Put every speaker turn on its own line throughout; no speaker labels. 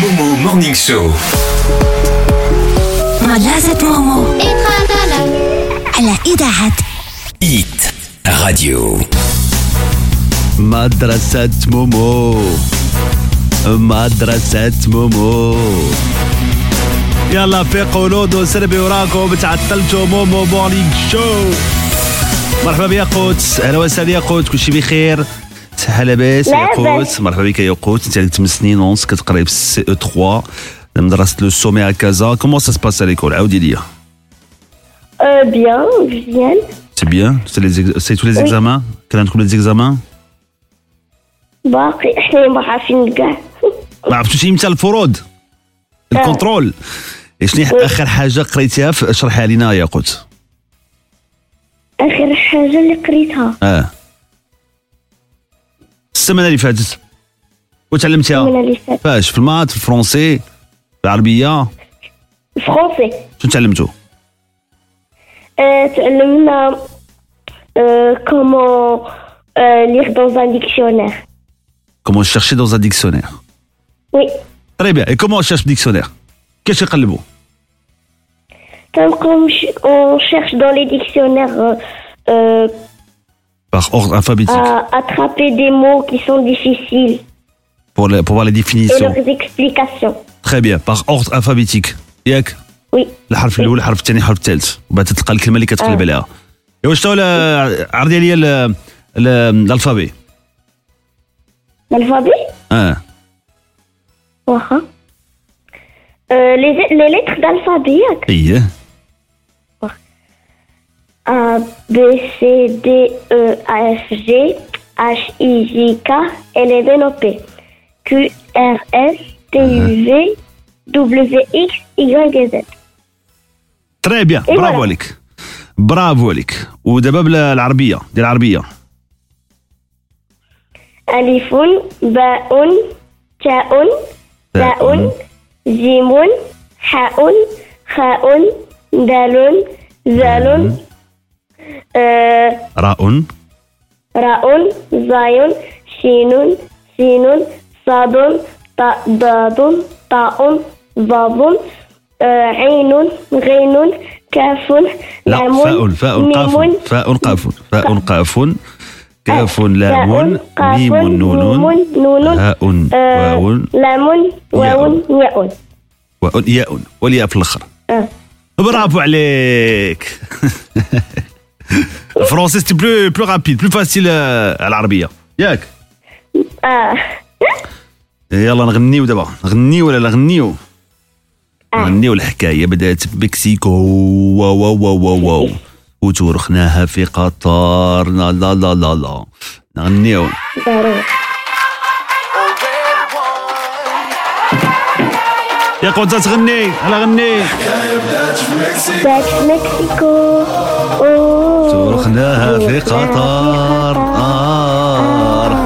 Momo Morning Show.
مدرسة مومو على إذاعة
Hit Radio.
مدرسة مومو مدرسة مومو يلا فيقوا لودو سربي وراكم تعطلتوا مومو مورنينغ شو مرحبا بيا قوت اهلا وسهلا يا قوت كلشي بخير صحة لاباس يا
لاباس.
قوت مرحبا بك يا قوت انت عندك 8 سنين ونص كتقري في السي او 3 لمدرسة لو سومي à كازا كومون سا سباس à l'école عاودي ليا
Euh, bien, bien.
سي بيان سي tous les
Oui.
examens كان عندكم les examens
باقي حنا ما عارفين كاع
ما عرفتوش امتى الفروض الكونترول شنو
إيه.
اخر حاجه قريتيها في- اشرحها لينا يا قوت
اخر حاجه اللي قريتها
اه السمانه اللي فاتت
من
وتعلمتيها
اللي فات
فاش في المات في الفرونسي في العربيه
فرونسي
شنو تعلمتو
آه، تعلمنا آه، كومون آه، ليغ دون ان ديكسيونير
كومون شيرشي دون ان ديكسيونير
وي
تري بيان اي كومون شيرش ديكسيونير كاش يقلبوا
كنبقاو نش- on cherche dans les dictionnaires euh, euh,
باغ اوردر الفابيتيك
à attraper des mots qui sont difficiles
بور لي- بور فوار لي
Euh. et
ديفينيسيون
leurs explications.
تري بيان باغ اوردر الفابيتيك ياك
Oui.
الحرف الاول الحرف الثاني الحرف الثالث وبعد تلقى الكلمه اللي كتقلب
آه.
عليها ايوا واش تو عرضي عليا ال- ال- الالفابي
L'alphabet
اه
واخا. Euh, les, les lettres d'alphabet ياك.
اييه
A, B, C, D, E, A, F, G, H, I, J, K, L, M, N, O, P, Q, R, S, T, U, V, W, X, Y, et Z.
تري بيان
إيوا.
برافو عليك برافو عليك ودابا بلا العربيه ديال العربيه
ألف باء تاء
تاء.
باء جيم حاء خاء دال ذال آه،
راء
راء زاي شين سين صاد طاء ضاد طاء ضاد آه، عين غين كاف
لا
لام
فاء فاء
ميم آه.
قاف فاء قاف فاء قاف كاف لام
قاف،
ميم نون
نون
هاء
آه،
واو
لام واو ياء
واو ياء والياء في الاخر
آه.
برافو عليك الفرنسي سيتي بلو بلو رابيد بلو فاسيل آه، على العربيه ياك
اه
يلا نغنيو دابا نغنيو ولا لا نغنيو
آه.
نغنيو الحكايه بدات في مكسيكو واو واو واو واو واو وترخناها في قطر لا لا لا لا لا نغنيو
ضروري
يا قوت تغني على غني
باك مكسيكو أوه.
ترخناها في آه. قطر آر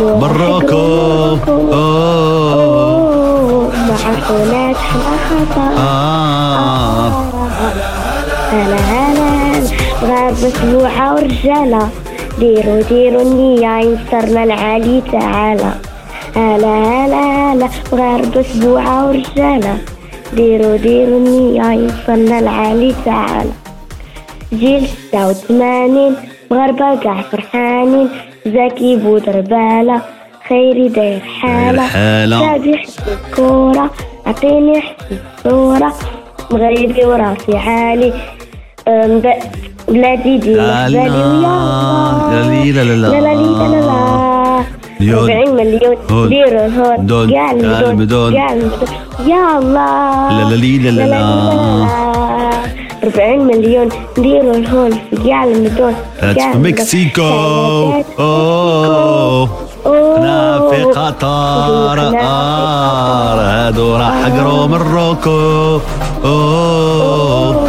مراكو آه.
أوه. معكو ناجحة خطأ
آه.
هلا هلا غاب مجموعة ورجالة ديروا ديروا النية ينصرنا العالي تعالى هلا هلا هلا غاب مجموعة ورجالة ديروا ديروا النية ينصرنا العالي تعالى جيل ستة وثمانين مغربة كاع فرحانين زكي بودربالة خيري داير حالة
حالة.
شادي حسي الكورة عطيني حسي الصورة مغربي وراسي عالي أم، ب- بلادي دي
لا
بالي
لا
ويا
لا لا لا لا.
لا لا لا لا لا
ليون.
40 مليون
هون.
ليرة هون
دون.
كاع
كاع المدن.
المدن كاع المدن. يا الله
لا لا لي لا لا لا.
40 مليون نديروا الهول في كاع المدن
في مكسيكو أوه. انا في قطر ار هادو راح قرو من روكو أوه.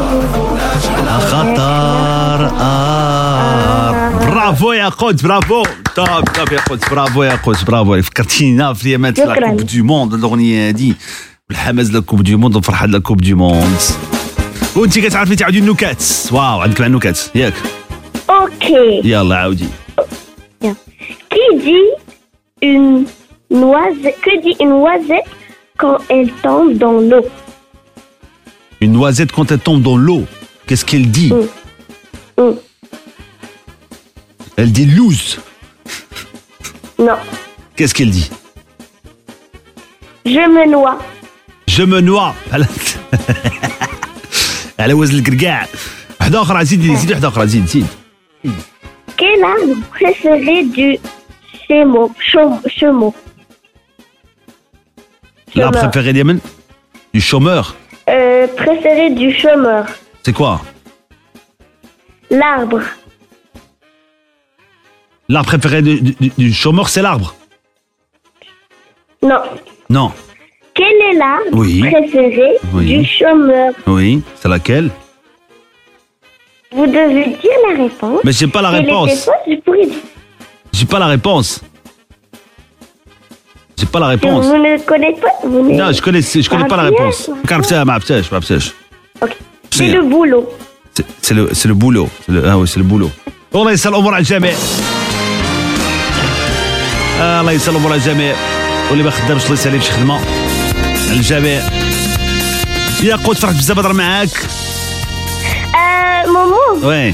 خطر ار برافو يا قدس برافو توب توب يا قدس برافو يا قدس برافو فكرتينا في ايامات لا
شكراً.
كوب دو موند الاغنيه هادي والحماس لا كوب دو موند والفرحه لا كوب دو موند وانت كتعرفي تعاودي النكات واو عندك مع النكات ياك
Oh, اوكي
يلا عاودي
Qui dit une noisette, que dit une noisette quand elle tombe dans l'eau.
Une noisette quand elle tombe dans l'eau, qu'est-ce qu'elle dit
Mm.
Elle dit loose.
Non.
Qu'est-ce qu'elle dit
Je me noie.
Je me noie. على وزن الكركاع واحدة أخرى زيد زيد واحدة أخرى زيد زيد
Quel arbre préféré du chameau Chau- Chameau.
لا
Chômeur.
préférée des men Du chômeur.
Euh, préféré du chômeur.
C'est quoi
L'arbre.
L'arbre préféré du, du- du chômeur, c'est l'arbre.
Non.
Non.
Quel est l'arbre
Oui.
préféré
Oui.
du chômeur
Oui, c'est laquelle
Vous devez dire la réponse.
Mais j'ai pas la
Et les
réponse.
réponses, je pourrais dire.
J'ai pas la réponse. J'ai pas la
Que
réponse.
Vous ne connaissez pas vous ne-
Non, je connais, je connais pas la réponse. Capteur, ma psèche, ma psèche.
Ok. C'est le boulot.
C'est- C'est le, c'est le boulot. C'est le, ah oui, c'est le boulot. والله يسهل الامور على الجميع. آه الله يسهل الامور على الجميع. واللي ما خدامش الله يسهل ليه في شي خدمه. على الجميع. يا قوت فرحت بزاف نهضر معاك.
Euh, maman,
وي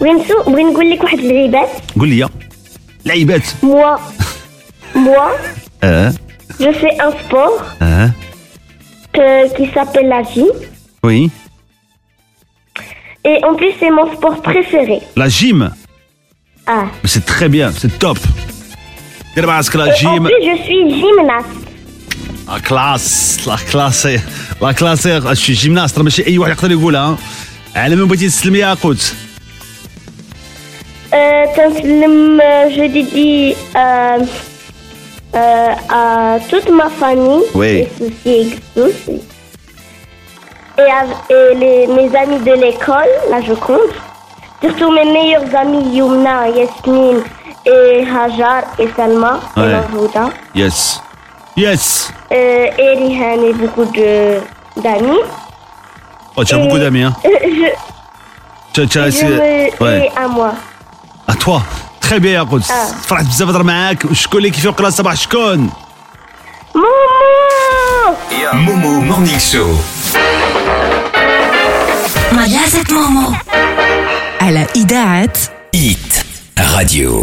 Winsou, Wingouli Kouhad Libet,
قول لي لعيبات.
moi, moi,
اه
je fais un sport
اه
que- qui s'appelle la gym.
وي
Et en plus, c'est mon sport préféré.
لا جيم.
Ah.
سي تري بيان سي توب. دير مع راسك لا
En
جيم.
plus, je suis gymnaste.
لا كلاس لا كلاس لا كلاس شي جيمناست راه ماشي اي واحد يقدر يقولها على من بغيتي تسلم يا قوت
Euh, Tanslem, euh, je dédie euh, euh, à toute ma famille,
Oui.
les soucis et tous. Et, à- et les, mes amis de l'école, là je compte. Surtout mes meilleurs amis Yumna, Yasmine et Hajar et Salma
Ouais.
et Mahouda.
يس يس
Euh, et Rihan et beaucoup de d'amis.
Oh, tu as
Et-
beaucoup d'amis, hein
Je,
Tu- tu as-
je
c'est-
me
Ouais.
mets à moi.
À toi. Très bien, يا قدس.
Ah.
فرحت بزاف نهضر معاك وشكون اللي كيفيق راه صباح شكون
Maman
Momo Morning Show.
مدرسة مومو
على إذاعة
Hit Radio.